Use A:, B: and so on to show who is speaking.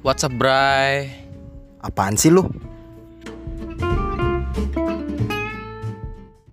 A: What's up, Bray?
B: Apaan sih lu?